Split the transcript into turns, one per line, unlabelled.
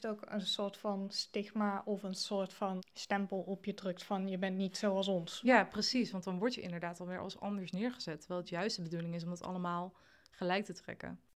juist ook een soort van stigma of een soort van stempel op je drukt van je bent niet zoals ons.
Ja, precies. Want dan word je inderdaad alweer als anders neergezet. Terwijl het juist de bedoeling is om het allemaal gelijk te trekken.